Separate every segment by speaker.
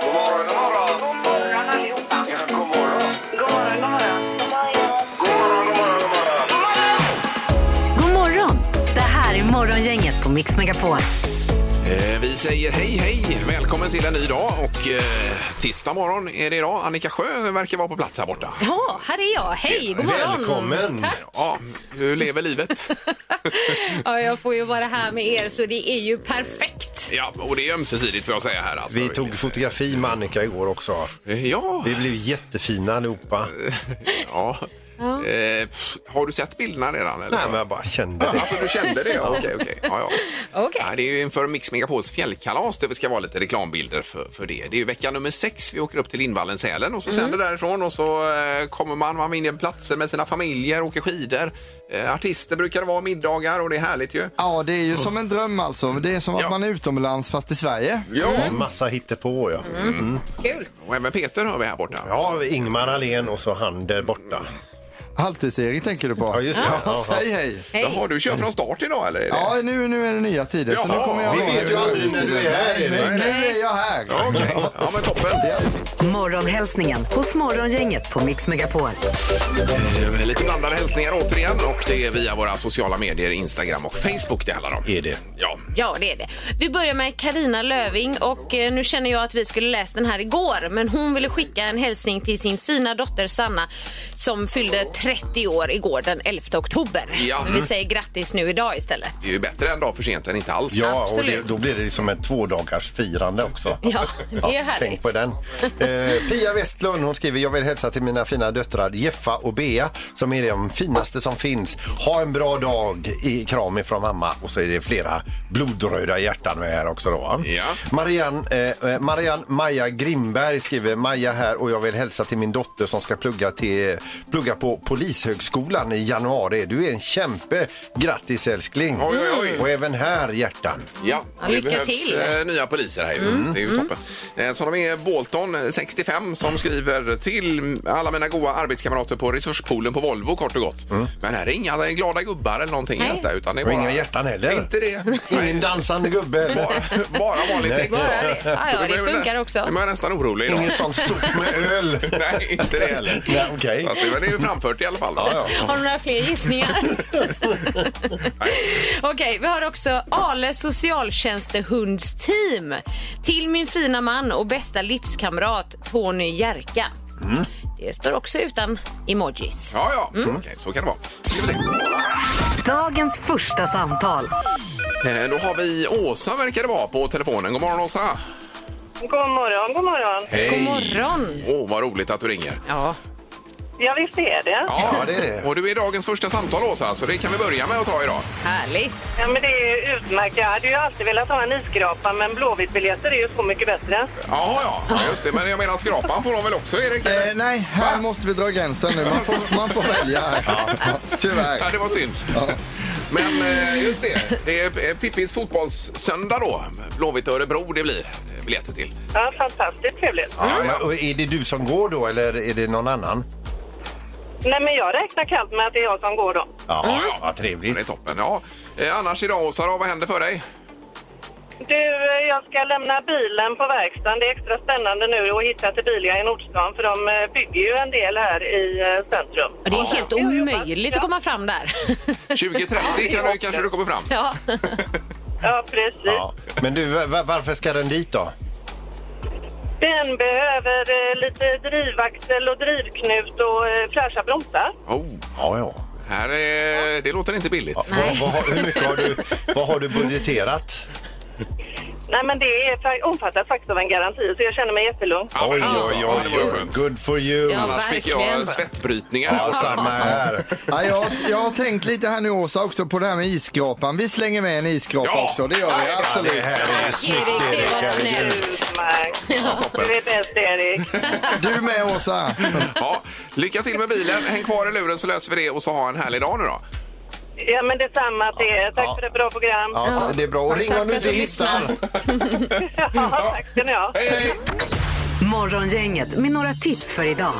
Speaker 1: God morgon, god morgon. God morgon allihopa. Ja, god morgon. God morgon, god morgon. God morgon, god morgon, god morgon.
Speaker 2: God morgon! Det här är Morgongänget på Mix Megapol.
Speaker 3: Eh, Vi säger hej, hej! Välkommen till en ny dag och eh, tisdag morgon är det idag. Annika Sjö verkar vara på plats här borta.
Speaker 4: Ja, här är jag. Hej, god morgon.
Speaker 5: Välkommen!
Speaker 4: Tack.
Speaker 3: Ja, hur lever livet?
Speaker 4: Ja, jag får ju vara här med er så det är ju perfekt.
Speaker 3: Ja, och det är ömsesidigt får jag säga här. Alltså.
Speaker 5: Vi tog fotografi med Annika igår också.
Speaker 3: Eh, Ja,
Speaker 5: Vi blev jättefina allihopa.
Speaker 3: ja. Eh, pff, har du sett bilderna redan? Eller?
Speaker 5: Nej, men jag bara kände det.
Speaker 3: Alltså du kände det? Ja, Okej, okej. Ja, ja.
Speaker 4: Okej.
Speaker 3: Ja, det är ju inför Mix Megapols fjällkalas där vi ska vara lite reklambilder för, för det. Det är ju vecka nummer sex. Vi åker upp till Lindvallen, Sälen och så sänder därifrån och så eh, kommer man, man vinner platser med sina familjer, åker skidor. Eh, artister brukar det vara middagar och det är härligt ju.
Speaker 6: Ja, det är ju som en dröm alltså. Det är som att
Speaker 3: Ja.
Speaker 6: man är utomlands fast i Sverige.
Speaker 3: Ja.
Speaker 5: Massa hittepå, ja.
Speaker 4: Kul.
Speaker 3: Och även Peter hör vi här borta.
Speaker 5: Ja, Ingmar Ahlén och så han där borta.
Speaker 6: Halvtids-Erik tänker du på.
Speaker 5: Ja, just det. Ja, ja.
Speaker 6: Hej, hej.
Speaker 3: Jaha, du kör från start idag eller? Är det?
Speaker 6: Ja, nu, nu är det nya tider så
Speaker 3: Jaha,
Speaker 6: nu kommer jag
Speaker 3: vi
Speaker 6: vara
Speaker 3: vet ju
Speaker 6: här.
Speaker 5: aldrig när du är här,
Speaker 6: Nej,
Speaker 5: Erik.
Speaker 6: men Nu är jag här.
Speaker 3: Ja, Okej, ja men toppen.
Speaker 2: Morgonhälsningen hos Morgongänget på Mix Megapol.
Speaker 3: Eh, Lite blandade hälsningar återigen och det är via våra sociala medier, Instagram och Facebook det handlar om.
Speaker 5: Är det.
Speaker 3: Ja,
Speaker 4: Ja, det är det. Vi börjar med Karina Löving och eh, nu känner jag att vi skulle läst den här igår, men hon ville skicka en hälsning till sin fina dotter Sanna som fyllde 30 år igår den 11 oktober.
Speaker 3: Ja.
Speaker 4: Men vi säger grattis nu idag istället.
Speaker 3: det är ju bättre en dag för sent än inte alls.
Speaker 5: Ja, och det,
Speaker 4: Absolut.
Speaker 5: då blir det ju som ett tvådagars firande också.
Speaker 4: Ja, det är härligt.
Speaker 5: Tänk på den. Eh, Pia Westlund hon skriver jag vill hälsa till mina fina döttrar Jeffa och Bea som är de finaste som finns. Ha en bra dag i kram ifrån mamma och så är det flera blodröda hjärtan med här också då. va?
Speaker 3: Ja.
Speaker 5: Marianne, eh, Marianne Maja Grimberg skriver Maja här och jag vill hälsa till min dotter som ska plugga, till, plugga på Polishögskolan i januari. Du är en kämpe. Grattis älskling.
Speaker 3: Oj, oj, oj.
Speaker 5: Och även här hjärtan.
Speaker 3: Ja,
Speaker 4: Ja,
Speaker 3: det
Speaker 4: lycka
Speaker 3: behövs
Speaker 4: till. Mm,
Speaker 3: eh, nya poliser här. ju. Det är ju toppen. Eh, Så de är Bolton, 65, som skriver till alla mina goda arbetskamrater på resurspoolen på Volvo kort och gott. Men här är inga glada gubbar eller någonting i
Speaker 4: Nej.
Speaker 3: detta. Utan det är
Speaker 5: Mm. Och
Speaker 3: bara...
Speaker 5: inga hjärtan heller.
Speaker 3: Inte det.
Speaker 5: Ingen dansande gubbe.
Speaker 3: Bara, bara vanlig
Speaker 5: Nej.
Speaker 3: text.
Speaker 4: Bara det. Ja, ja,
Speaker 3: Så då
Speaker 4: det
Speaker 3: blir man-
Speaker 4: funkar också.
Speaker 3: Då är man nästan orolig idag.
Speaker 5: Inget sånt stort med öl.
Speaker 3: Nej, inte det heller.
Speaker 5: Nej, okej.
Speaker 3: Så att det- Men det är ju framfört i alla fall. Då.
Speaker 4: Har du några fler gissningar? Okej, vi har också Ale socialtjänstehundsteam. Till min fina man och bästa livskamrat Tony Jerka. Mm. Det står också utan emojis.
Speaker 3: Ja, ja.
Speaker 5: Mm.
Speaker 3: Okej, så kan det vara. Ska vi se.
Speaker 2: Dagens första samtal.
Speaker 3: Eh, Då har vi Åsa, verkar det vara, på telefonen. God morgon, Åsa.
Speaker 7: God morgon, god morgon.
Speaker 3: Hej.
Speaker 4: God morgon!
Speaker 3: Åh, vad roligt att du ringer.
Speaker 4: Ja,
Speaker 7: Ja, visst är det.
Speaker 5: Ja, det är det.
Speaker 3: Och du är dagens första samtal, Åsa, så det kan vi börja med att ta idag.
Speaker 4: härligt.
Speaker 7: Ja, men det är ju utmärkt. Jag hade ju alltid velat ha en iskrapa, men blåvitbiljetter är ju så mycket bättre.
Speaker 3: Jaha, ja. ja. Just det, men jag menar skrapan får de väl också, Erik?
Speaker 6: Eh, nej, här måste vi dra gränsen nu. Man får, man får välja här.
Speaker 3: Ja,
Speaker 6: Tyvärr.
Speaker 3: det var synd. Men eh, just det, det är eh, Pippis fotbollssöndag då. Blåvitt och Örebro det blir eh, biljetter till.
Speaker 7: Ja, fantastiskt trevligt.
Speaker 5: Ja, och är det du som går då eller är det någon annan?
Speaker 7: Nej, men jag räknar kallt med att det är jag som går då.
Speaker 5: Ja, ja vad
Speaker 3: Det är
Speaker 5: trevligt.
Speaker 3: toppen. Ja. Eh, Annars idag, Åsa, då, vad händer för dig?
Speaker 7: Du, eh, jag ska lämna bilen på verkstaden. Det är extra spännande nu att hitta till Bilia i Nordstan, för de eh, bygger ju en del här i eh, centrum.
Speaker 4: Och Det är helt omöjligt att komma fram där.
Speaker 3: 20.30 kan du, kanske du kommer fram.
Speaker 4: Ja.
Speaker 7: Ja, precis.
Speaker 5: Ja. Men du, va- va- varför ska den dit då?
Speaker 7: Den behöver eh, lite drivaxel och drivknut och eh, fräscha bromsar.
Speaker 3: Oh,
Speaker 5: Ja, ja.
Speaker 3: här är, det låter inte billigt.
Speaker 5: Vad, vad, har- hur mycket har du, vad har du budgeterat?
Speaker 7: Nej, men det är, fa- omfattas faktiskt av en garanti, så jag känner mig jättelugn.
Speaker 3: Ja, men alltså, ja, det var ju skönt.
Speaker 5: Good for you.
Speaker 4: Ja.
Speaker 3: Annars fick jag
Speaker 4: verkligen.
Speaker 3: svettbrytningar.
Speaker 5: Ja,
Speaker 3: här.
Speaker 5: samma här.
Speaker 6: Ja, jag, jag har tänkt lite här nu Åsa också på det här med iskrapan. Vi slänger med en iskrapa
Speaker 3: Ja.
Speaker 6: också, det gör vi absolut.
Speaker 5: här
Speaker 4: Tack, Erik, det var snällt.
Speaker 7: Utmärkt.
Speaker 3: toppen.
Speaker 7: Du är bäst, Erik.
Speaker 6: Du med Åsa.
Speaker 3: Ja, lycka till med bilen. Häng kvar i luren så löser vi det och så ha en härlig dag nu då.
Speaker 7: Ja, men detsamma till er. Tack
Speaker 5: Ja.
Speaker 7: för ett bra program. Ja,
Speaker 5: Ja, det är bra. Och ring
Speaker 4: Tack
Speaker 5: om du
Speaker 4: för att
Speaker 5: inte
Speaker 4: du lyssnar.
Speaker 5: hittar.
Speaker 7: tack ska ni ha.
Speaker 3: Hej, hej!
Speaker 2: Morgongänget med några tips för idag.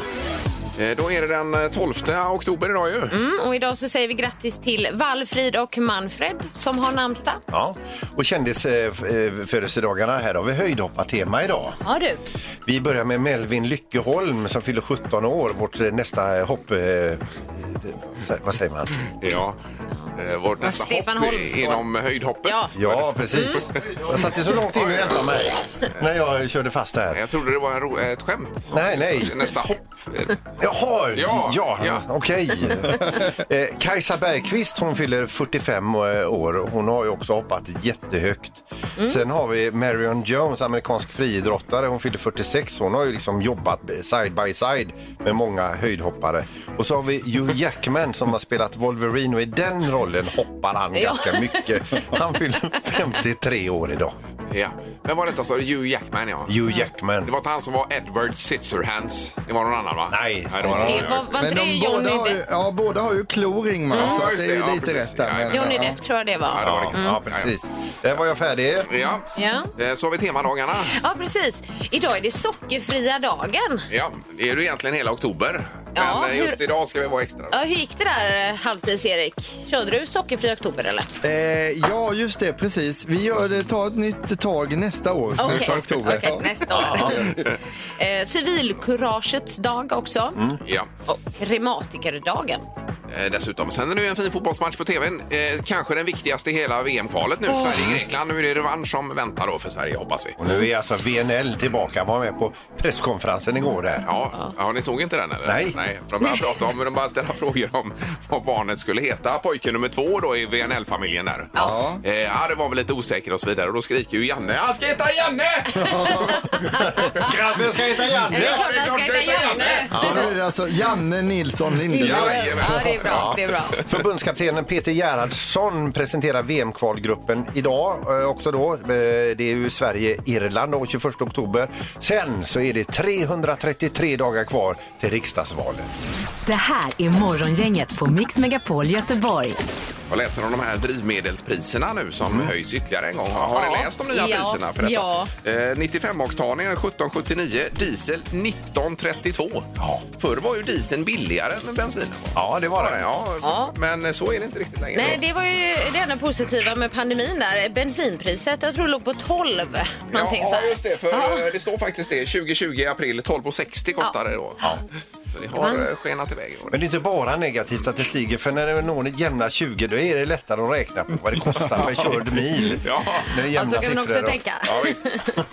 Speaker 3: Eh, Då är det den eh, 12 oktober idag ju.
Speaker 4: Mm, och idag så säger vi grattis till Valfrid och Manfred som har namnsdag.
Speaker 5: Ja. Och eh, kändisfödelsedagarna här har vi höjdhoppartema idag.
Speaker 4: Ja du.
Speaker 5: Vi börjar med Melvin Lyckeholm som fyller 17 år, vårt eh, nästa eh, hopp... eh, Eh, vad säger man?
Speaker 3: Ja. Eh, Vårt nästa
Speaker 4: Stefan
Speaker 3: hopp
Speaker 4: Holmsson.
Speaker 3: inom höjdhoppet.
Speaker 4: Ja.
Speaker 5: Ja, precis. Jag satte så långt in och väntade mig när jag körde fast här.
Speaker 3: Jag trodde det var en ro- ett skämt.
Speaker 5: Nej, nej.
Speaker 3: Mm. Nästa hopp. Eh,
Speaker 5: Jaha,
Speaker 3: Ja,
Speaker 5: ja,
Speaker 3: ja.
Speaker 5: okej. eh, Kajsa Bergqvist hon fyller 45 år. Hon har ju också hoppat jättehögt. Sen har vi Marion Jones, amerikansk friidrottare. Hon fyller 46. Hon har ju liksom jobbat side by side med många höjdhoppare. Och så har vi Hugh Jackman som har spelat Wolverine och i den rollen hoppar han ganska mycket. Han fyller 53 år idag.
Speaker 3: Ja. Vem var detta sa du? Hugh Jackman ja.
Speaker 5: Hugh Jackman.
Speaker 3: Det var inte han som var Edward Scissorhands. Det var någon annan va?
Speaker 5: Nej.
Speaker 3: Nej det var någon
Speaker 4: Det var,
Speaker 3: annan.
Speaker 4: var inte det Johnny
Speaker 6: båda, har, ju-
Speaker 4: Depp?
Speaker 6: ja, båda har ju kloring man, så
Speaker 3: Ja,
Speaker 6: att
Speaker 3: just
Speaker 6: det är
Speaker 3: det. Ja,
Speaker 6: ju lite
Speaker 3: precis.
Speaker 6: rätt där.
Speaker 3: Ja,
Speaker 6: men-
Speaker 4: Johnny Depp tror jag det var.
Speaker 3: Ja, det var det.
Speaker 5: Ja, ja, precis. Där var jag färdig.
Speaker 3: Ja.
Speaker 4: Ja.
Speaker 3: Eh, Så har vi temadagarna.
Speaker 4: Ja, precis. Idag är det sockerfria dagen.
Speaker 3: Ja, det är ju egentligen hela oktober.
Speaker 4: Ja,
Speaker 3: Men eh, just
Speaker 4: hur-
Speaker 3: idag ska vi vara extra.
Speaker 4: Ja, hur gick det där eh, halvtids-Erik? Körde du sockerfri oktober eller?
Speaker 6: Eh, ja, just det, precis. Vi gör det, tar ett nytt tag nästa år,
Speaker 4: Okej.
Speaker 6: nästa oktober.
Speaker 4: Okej,
Speaker 6: Ja.
Speaker 4: nästa år. eh, civilkuragets dag också.
Speaker 3: Ja.
Speaker 4: Och reumatikerdagen.
Speaker 3: Eh, Dessutom. Sen är det ju en fin fotbollsmatch på tvn. Eh, kanske den viktigaste i hela VM-kvalet nu. Sverige-Grekland. Nu är det revansch som väntar då för Sverige, hoppas vi.
Speaker 5: Och nu är alltså VNL tillbaka. Var med på presskonferensen igår där.
Speaker 3: Ja, ja, ni såg inte den eller?
Speaker 5: Nej.
Speaker 3: Nej för de började prata om, de bara ställa frågor om vad barnet skulle heta. Pojke nummer två då i VNL-familjen där.
Speaker 6: Ja.
Speaker 3: Eh, ja, det var väl lite osäker och så vidare. Och då skriker ju Janne, han ska heta Janne!
Speaker 5: Grabben ska heta
Speaker 4: Det
Speaker 5: Janne!
Speaker 4: är klart man ska heta Janne.
Speaker 6: Så nu är det alltså Janne Nilsson Lindelöf.
Speaker 3: Ja,
Speaker 4: Ja, det är bra. Det är bra.
Speaker 5: Förbundskaptenen Peter Gerhardsson presenterar VM-kvalgruppen idag eh, också då. Eh, Det är ju Sverige-Irland då, 21 oktober. Sen så är det 333 dagar kvar till riksdagsvalet.
Speaker 2: Det här är Morgongänget på Mix Megapol Göteborg.
Speaker 3: Jag läser om de här drivmedelspriserna nu som höjs ytterligare en gång. Har
Speaker 4: Ja.
Speaker 3: ni läst de nya
Speaker 4: Ja.
Speaker 3: priserna för detta?
Speaker 4: Ja.
Speaker 3: Eh, 95-oktanig 17,79, diesel 19,32. Ja. Förr var ju dieseln billigare än bensinen.
Speaker 5: Ja, det var det.
Speaker 3: Ja,
Speaker 4: Ja.
Speaker 3: Men eh, så är det inte riktigt längre.
Speaker 4: Nej, det var ju det enda positiva med pandemin där. Bensinpriset, jag tror det låg på 12.
Speaker 3: Ja,
Speaker 4: Någonting så
Speaker 3: ja,
Speaker 4: här.
Speaker 3: just det. För
Speaker 4: Ja.
Speaker 3: eh, det står faktiskt det. 2020 i april, 12,60 kostar det då. Så det har eh, skenat iväg.
Speaker 5: Men det är inte bara negativt att det stiger för när det når jämna 20 då är det lättare att räkna på vad det kostar per körd mil.
Speaker 3: Ja.
Speaker 5: Med jämna
Speaker 4: Ja, så kan man också
Speaker 5: siffror då.
Speaker 4: tänka.
Speaker 3: Ja, visst.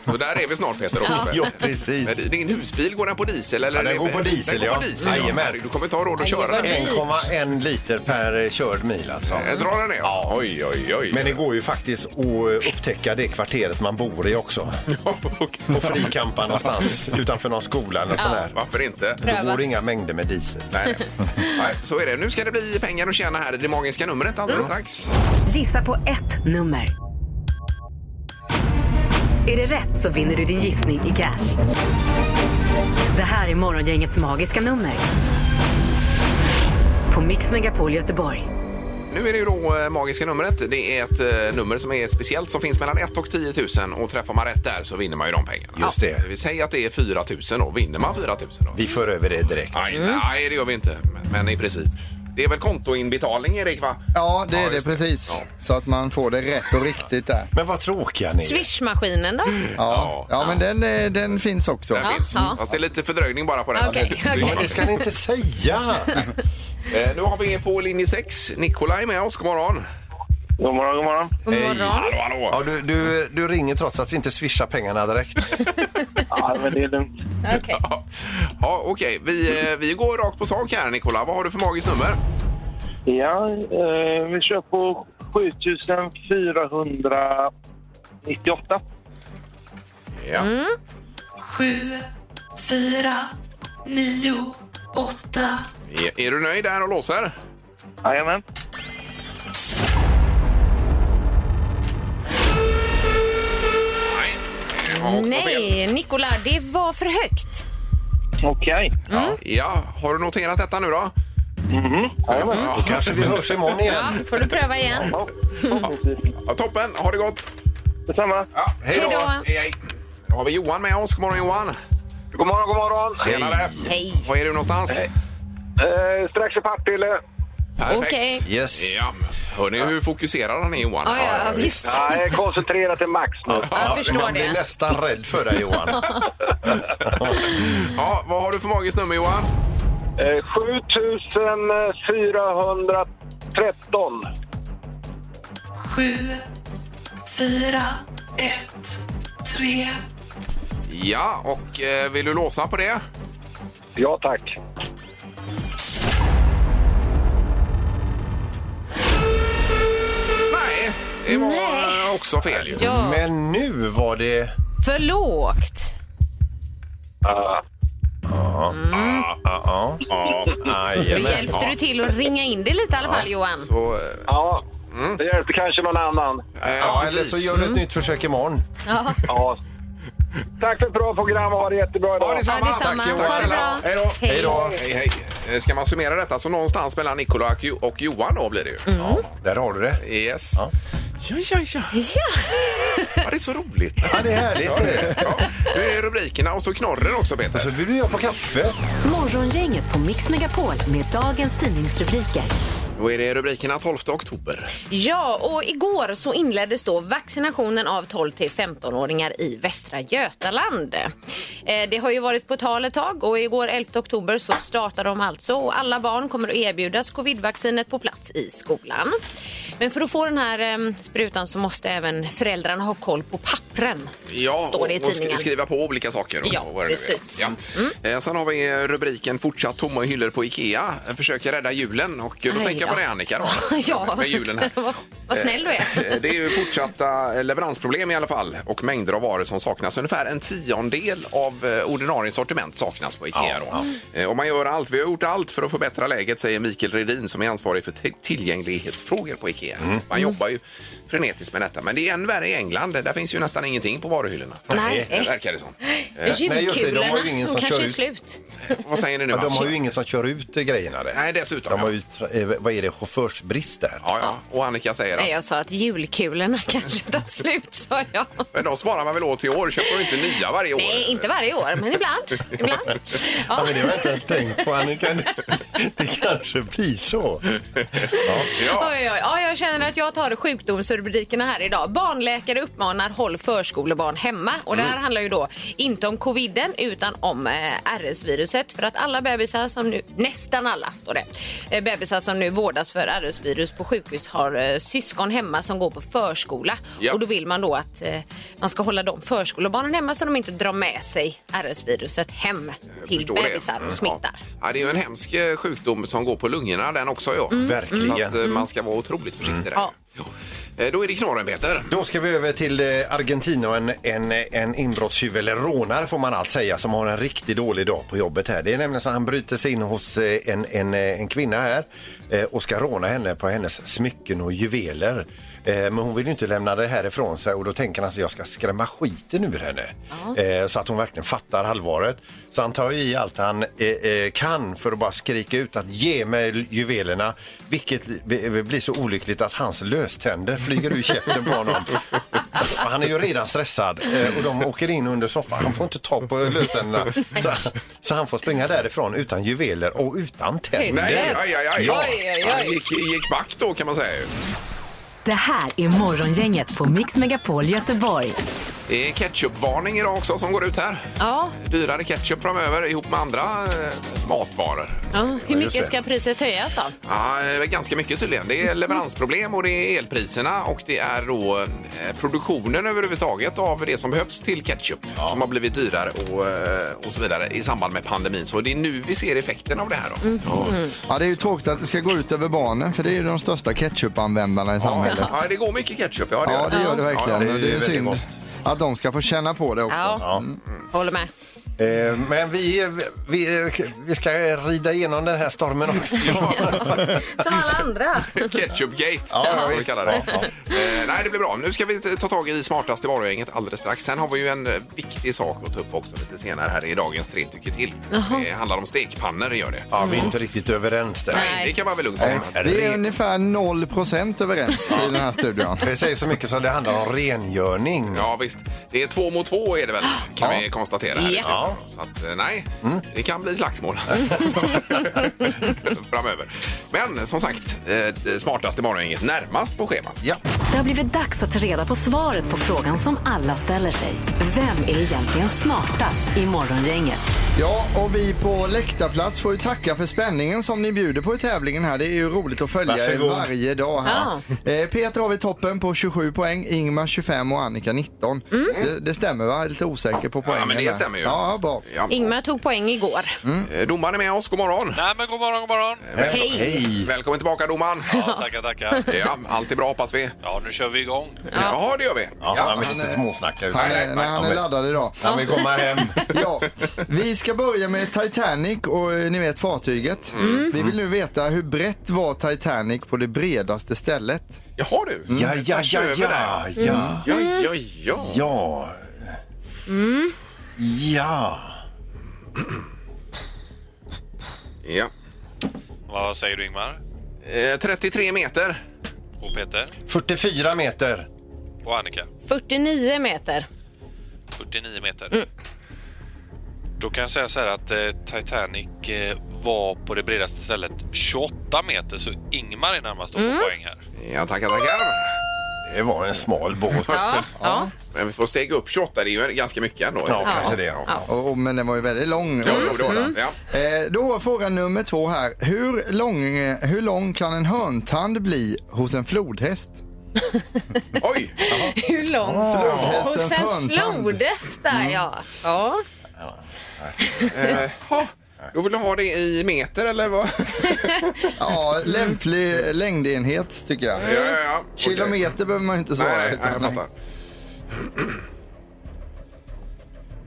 Speaker 3: Så där är vi snart, Peter. Också.
Speaker 5: Ja, precis.
Speaker 3: Men Din husbil, går den på diesel? Eller
Speaker 5: Ja, den går på diesel,
Speaker 3: den går
Speaker 5: ja.
Speaker 3: på diesel ja.
Speaker 5: Jajamän.
Speaker 3: Herregud, Du kommer inte ha råd att
Speaker 4: Nej,
Speaker 3: köra
Speaker 4: vad
Speaker 3: den.
Speaker 5: 1,1
Speaker 4: dyrt.
Speaker 5: liter per eh, körd mil alltså.
Speaker 3: Eh, Drar den ner? Ja. Oj, oj, oj.
Speaker 5: Men det går ju faktiskt att upptäcka det kvarteret man bor i också. På frikampa någonstans utanför någon skola eller sån här.
Speaker 3: Varför inte?
Speaker 4: Pröva.
Speaker 5: Då går det inga mängder med diesel.
Speaker 3: Nej. Nej, så är det. Nu ska det bli pengar att tjäna här i det magiska numret alldeles strax.
Speaker 2: Gissa på ett nummer. Är det rätt så vinner du din gissning i cash. Det här är Morgongängets magiska nummer. På Mix Megapol Göteborg.
Speaker 3: Nu är det ju då eh, magiska numret. Det är ett eh, nummer som är speciellt som finns mellan 1 och 10 000 och träffar man rätt där så vinner man ju de pengarna.
Speaker 5: Just det.
Speaker 3: Ja. Vi säger att det är 4 000 då. Vinner man 4 000 då?
Speaker 5: Vi för över det direkt.
Speaker 3: Nej, nej, det gör vi inte. Men, men i princip. Det är väl kontoinbetalning, Erik? Va?
Speaker 6: Ja, det är det
Speaker 3: just
Speaker 6: precis.
Speaker 3: Ja.
Speaker 6: Så att man får det rätt och riktigt där.
Speaker 5: Men vad tråkiga ni är.
Speaker 4: Swishmaskinen då?
Speaker 6: Ja, ja men den, eh, den finns också.
Speaker 3: Den finns.
Speaker 4: ja.
Speaker 3: Fast det är lite fördröjning bara på den.
Speaker 4: Okej, okej.
Speaker 5: Ja, Det ska ni inte säga!
Speaker 3: Eh, nu har vi på linje 6 Nikolaj med oss. God morgon.
Speaker 1: God morgon, god morgon.
Speaker 4: God morgon.
Speaker 3: Hallå, hallå.
Speaker 5: Ja, du, du, du ringer trots att vi inte swishar pengarna direkt.
Speaker 1: Ja, men det är lugnt.
Speaker 4: Okej.
Speaker 3: Ja, ja okej. Vi, eh, vi går rakt på sak här, Nikola. Vad har du för magiskt nummer?
Speaker 1: Ja, eh, vi kör på 7498.
Speaker 3: Ja.
Speaker 8: sju, fyra, nio, åtta,
Speaker 3: Är, är du nöjd där och låser?
Speaker 1: Jajamän.
Speaker 3: Nej. det var också fel.
Speaker 4: Nej, Nicola, det var för högt.
Speaker 1: Okej.
Speaker 4: Mm.
Speaker 3: Ja. ja. Har du noterat detta nu då? Mm.
Speaker 1: Mhm. Jajamän.
Speaker 3: Ja.
Speaker 5: Då kanske vi hörs imorgon
Speaker 4: Ja,
Speaker 5: igen.
Speaker 4: får du pröva igen.
Speaker 1: Ja, förhoppningsvis.
Speaker 3: Ja, toppen. Ha det gott.
Speaker 1: Detsamma.
Speaker 3: Ja, hej då.
Speaker 4: Hej då.
Speaker 3: Hej, hej. Då har vi Johan med oss. God morgon, Johan.
Speaker 1: God morgon, god morgon.
Speaker 3: Tjenare!
Speaker 4: Hej.
Speaker 3: Var är du någonstans?
Speaker 1: Eh, strax i Partille.
Speaker 3: Perfekt.
Speaker 4: Okej.
Speaker 5: Yes.
Speaker 3: Ja, hörni, hur fokuserad han är Johan?
Speaker 4: Ja, ja, visst.
Speaker 1: Nej, koncentrera till max nu.
Speaker 4: Jag förstår
Speaker 5: Man blir
Speaker 4: det.
Speaker 5: nästan rädd för dig Johan.
Speaker 3: Ja, vad har du för magiskt nummer Johan?
Speaker 1: Eh, 7413.
Speaker 8: 7, 4, 1, 3,
Speaker 3: Ja, och eh, vill du låsa på det?
Speaker 1: Ja, tack.
Speaker 3: Nej, det var
Speaker 4: Nej.
Speaker 3: eh, också fel ju.
Speaker 4: Ja,
Speaker 5: Men nu var det...
Speaker 4: för lågt.
Speaker 1: Ah,
Speaker 4: Då
Speaker 5: Jajamän.
Speaker 4: hjälpte du till att ringa in det lite i alla fall, Johan.
Speaker 3: Så, eh,
Speaker 1: ja, det hjälpte kanske någon annan.
Speaker 5: Ja,
Speaker 3: precis.
Speaker 5: eller så gör du ett nytt försök imorgon.
Speaker 1: Ja. Tack för ett bra program och ha det jättebra
Speaker 3: Ja,
Speaker 1: idag.
Speaker 3: detsamma.
Speaker 4: Ja, detsamma.
Speaker 3: Tack, Johan.
Speaker 4: Ha det
Speaker 3: Snälla.
Speaker 4: bra.
Speaker 3: Hej då.
Speaker 4: Hej.
Speaker 3: Hej, hej. Eh, Ska man summera detta så någonstans mellan Nikola och Jo- och Johan då blir det ju.
Speaker 4: Mm.
Speaker 3: Ja.
Speaker 5: Där har du det.
Speaker 3: Yes. Ja.
Speaker 5: Ja.
Speaker 3: Ja, ja, ja. det är så roligt.
Speaker 5: Ja, det är
Speaker 3: Ja, det är
Speaker 5: härligt.
Speaker 3: det. Ja. Nu är rubrikerna och så knorren också, Peter.
Speaker 5: Och så bjuder jag på kaffe.
Speaker 2: Morgongänget på Mix Megapol med dagens tidningsrubriker.
Speaker 3: Då är det rubrikerna 12 oktober.
Speaker 4: Ja, och igår så inleddes då vaccinationen av 12 till 15-åringar i Västra Götaland. Eh, Det har ju varit på tal ett tag och igår 11 oktober så startar de alltså och alla barn kommer att erbjudas covidvaccinet på plats i skolan. Men för att få den här eh, sprutan så måste även föräldrarna ha koll på pappren.
Speaker 3: Ja,
Speaker 4: Står det i
Speaker 3: och- och sk-
Speaker 4: tidningen.
Speaker 3: skriva på olika saker. Och,
Speaker 4: Ja,
Speaker 3: och vad det nu är.
Speaker 4: precis. Mm.
Speaker 3: Ja. Eh, Sen har vi eh, rubriken Fortsatt tomma hyllor på Ikea. Försöker rädda julen. Och då
Speaker 4: Aj
Speaker 3: tänker jag
Speaker 4: då.
Speaker 3: på dig Annika då.
Speaker 4: Ja,
Speaker 3: Med julen här.
Speaker 4: vad, vad snäll du är.
Speaker 3: Eh, Det är ju fortsatta eh, leveransproblem i alla fall och mängder av varor som saknas. Ungefär en tiondel av eh, ordinarie sortiment saknas på Ikea. då. Eh, Och man gör allt, vi har gjort allt för att förbättra läget säger Mikael Redin som är ansvarig för till- tillgänglighetsfrågor på Ikea.
Speaker 5: Mm.
Speaker 3: Man jobbar ju frenetiskt med detta. Men det är än värre i England. Där finns ju nästan ingenting på varuhyllorna.
Speaker 4: Nej.
Speaker 3: Det verkar det som.
Speaker 5: nej, just det, de har ju
Speaker 4: Julkulorna,
Speaker 5: ingen som
Speaker 4: kanske
Speaker 5: kör
Speaker 4: är
Speaker 5: ut.
Speaker 4: slut.
Speaker 3: Vad säger ni nu?
Speaker 5: Ja, de
Speaker 3: Mats?
Speaker 5: har ju ingen som kör ut eh, grejerna där.
Speaker 3: Nej, dessutom,
Speaker 5: De har
Speaker 3: ja.
Speaker 5: ju, tra- eh, vad är det, chaufförsbrist där?
Speaker 3: Ja, ja. Och Annika säger
Speaker 4: Nej,
Speaker 3: att
Speaker 4: jag sa att julkulorna kanske tar slut, sa jag.
Speaker 3: men de sparar man väl åt i år? Köper de inte nya varje år?
Speaker 4: Nej, inte varje år, men ibland. ibland.
Speaker 5: Ja,
Speaker 4: Ja.
Speaker 5: men det har jag inte ens tänkt på Annika. Det kanske blir så.
Speaker 3: Ja.
Speaker 4: Oj, oj, oj. Ja, jag känner att jag tar sjukdomsrubrikerna här idag. Barnläkare uppmanar håll förskolebarn hemma. Och Det
Speaker 3: Mm.
Speaker 4: här handlar ju då inte om coviden utan om eh, RS-viruset. För att alla bebisar som nu, nästan alla står det, eh, bebisar som nu vårdas för RS-virus på sjukhus har eh, syskon hemma som går på förskola.
Speaker 3: Ja.
Speaker 4: Och då vill man då att eh, man ska hålla de förskolebarnen hemma så de inte drar med sig RS-viruset hem till
Speaker 3: Förstår det.
Speaker 4: bebisar
Speaker 3: Mm.
Speaker 4: och smittar.
Speaker 3: Ja. Ja, det är ju en hemsk eh, sjukdom som går på lungorna den också. Ja.
Speaker 5: Verkligen. Mm.
Speaker 3: Så att, eh, man ska vara otroligt försiktig där.
Speaker 4: Mm. Ja.
Speaker 3: Jo. Eh, Då är det knorren, Peter.
Speaker 5: Då ska vi över till eh, Argentina och en, en, en inbrottstjuv, eller rånare får man allt säga, som har en riktigt dålig dag på jobbet här. Det är nämligen så att han bryter sig in hos eh, en, en, eh, en kvinna här eh, och ska råna henne på hennes smycken och juveler. Eh, Men hon vill ju inte lämna det här ifrån sig och då tänker han att jag ska skrämma skiten ur henne. Eh, Så att hon verkligen fattar allvaret. Så han tar ju i allt han eh, eh, kan för att bara skrika ut att ge mig juvelerna. Vilket b- blir så olyckligt att hans löständer flyger ur käften på honom. Han är ju redan stressad eh, och de åker in under soffan. Han får inte tag på löständerna. Så, så han får springa därifrån utan juveler och utan tänder.
Speaker 3: Nej, aj, aj, aj.
Speaker 5: Ja.
Speaker 4: Oj, oj, oj.
Speaker 3: Han gick, gick back då kan man säga.
Speaker 2: Det här är Morgongänget på Mix Megapol Göteborg.
Speaker 3: Det är ketchupvarning idag också som går ut här.
Speaker 4: Ja,
Speaker 3: Dyrare ketchup framöver ihop med andra eh, matvaror.
Speaker 4: ja. Hur
Speaker 5: just det.
Speaker 4: mycket ska priset höjas då?
Speaker 3: Ja, eh, ganska mycket tydligen. Det är leveransproblem och det är elpriserna och det är då eh, produktionen överhuvudtaget av det som behövs till ketchup som har blivit dyrare och, eh, och så vidare i samband med pandemin. Så det är nu vi ser effekten av det här. Då. Ja.
Speaker 6: Ja, det är ju tråkigt att det ska gå ut över barnen för det är ju de största ketchupanvändarna i samhället.
Speaker 3: Ja, det går mycket ketchup. Ja, det
Speaker 6: Ja, det gör det verkligen.
Speaker 3: Ja,
Speaker 6: och det är ju
Speaker 5: väldigt
Speaker 6: synd
Speaker 5: gott.
Speaker 6: att de ska få känna på det också.
Speaker 4: Ja, Mm.
Speaker 5: Ja.
Speaker 4: håller med.
Speaker 5: Eh, Men vi, vi, vi ska rida igenom den här stormen också.
Speaker 3: Mm.
Speaker 4: Som alla andra.
Speaker 3: Ketchupgate,
Speaker 5: Ja, ja,
Speaker 3: som vi
Speaker 5: visst.
Speaker 3: kallar det.
Speaker 5: Ja,
Speaker 3: Eh, nej, det blir bra. Nu ska vi ta tag i smartaste varugänget alldeles strax. Sen har vi ju en eh, viktig sak att ta upp också lite senare här i dagens tre tycker till. Det handlar om stekpannor, gör det.
Speaker 5: Ja, vi är inte riktigt överens där.
Speaker 4: Nej.
Speaker 3: Det kan man väl lugnt säga.
Speaker 6: Vi är ungefär 0 procent överens i den här studion.
Speaker 5: Det säger så mycket som det handlar om rengöring.
Speaker 3: Ja, visst. Det är två mot två är det väl, kan
Speaker 6: Ja.
Speaker 3: vi konstatera. Här i
Speaker 4: Ja.
Speaker 3: studion.
Speaker 5: Ja.
Speaker 3: Så att, eh, nej,
Speaker 5: Mm.
Speaker 3: det kan bli slagsmål framöver. Men som sagt, eh, det smartaste morgongänget närmast på schemat.
Speaker 5: Ja.
Speaker 2: Det har blivit dags att ta reda på svaret på frågan som alla ställer sig. Vem är egentligen smartast i Morgongänget?
Speaker 6: Ja, och vi på läktarplats får ju tacka för spänningen som ni bjuder på i tävlingen här. Det är ju roligt att följa
Speaker 5: Varsågod.
Speaker 6: er varje dag här. Eh, Peter har vi toppen på 27 poäng, Ingmar 25 och Annika 19. Det, det stämmer va? Jag är lite osäker på poängen.
Speaker 3: men det
Speaker 6: där.
Speaker 3: stämmer ju.
Speaker 6: Ja, bra.
Speaker 3: Ja.
Speaker 4: Ingmar tog poäng igår.
Speaker 3: Eh, Domaren är med oss, god morgon!
Speaker 9: Nej, men god morgon, god morgon.
Speaker 4: Hej.
Speaker 3: Hej. Välkommen tillbaka domaren!
Speaker 9: Ja, tackar, tackar.
Speaker 3: Ja, allt är bra hoppas vi.
Speaker 9: Ja, nu kör vi igång.
Speaker 3: Ja, det gör vi.
Speaker 5: Ja, han vill inte småsnacka. utan-
Speaker 6: Han är, nej, han är
Speaker 5: vill-
Speaker 6: laddad idag.
Speaker 5: Han vill komma hem.
Speaker 6: Ja, vi ska börja med Titanic och eh, ni vet fartyget.
Speaker 3: Mm.
Speaker 6: Vi vill nu veta hur brett var Titanic på det bredaste stället?
Speaker 3: Jaha du!
Speaker 5: Ja, ja,
Speaker 3: Jag kör
Speaker 5: ja,
Speaker 3: över
Speaker 5: ja,
Speaker 3: där. Mm.
Speaker 5: ja,
Speaker 3: Ja, ja, ja.
Speaker 5: ja.
Speaker 4: Mm.
Speaker 5: Ja.
Speaker 3: ja.
Speaker 9: Vad säger du, Ingmar?
Speaker 3: Eh, 33 meter.
Speaker 9: Och Peter?
Speaker 5: 44 meter.
Speaker 9: Och Annika?
Speaker 4: 49 meter.
Speaker 9: 49 meter.
Speaker 4: Mm.
Speaker 9: Då kan jag säga så här att eh, Titanic eh, var på det bredaste stället 28 meter, så Ingmar är närmast och får
Speaker 4: Mm.
Speaker 9: poäng här.
Speaker 3: Ja, tackar, tackar.
Speaker 5: Det var en smal båt.
Speaker 4: Ja, ja.
Speaker 3: Men vi får stega upp 28, det är ju ganska mycket ändå.
Speaker 5: Ja, kanske det. Ja.
Speaker 6: Och, och, men den var ju väldigt lång.
Speaker 3: Ja,
Speaker 4: Mm.
Speaker 3: jo, det var det. Ja.
Speaker 6: Eh, då var fråga nummer två här. Hur lång, hur lång kan en hörntand bli hos en flodhäst?
Speaker 3: Oj!
Speaker 4: Hur långt? Hos
Speaker 6: Flodhästens
Speaker 4: en
Speaker 6: hörntand.
Speaker 4: flodhäst där, ja. ja. Mm.
Speaker 3: Eh, ha, då vill du ha det i meter eller vad?
Speaker 6: Ja, lämplig längdenhet tycker jag.
Speaker 3: Mm. Ja, ja, ja. Okej.
Speaker 6: Kilometer behöver man ju inte svara.
Speaker 3: Nej, nej, nej, jag
Speaker 6: utan-
Speaker 3: fattar.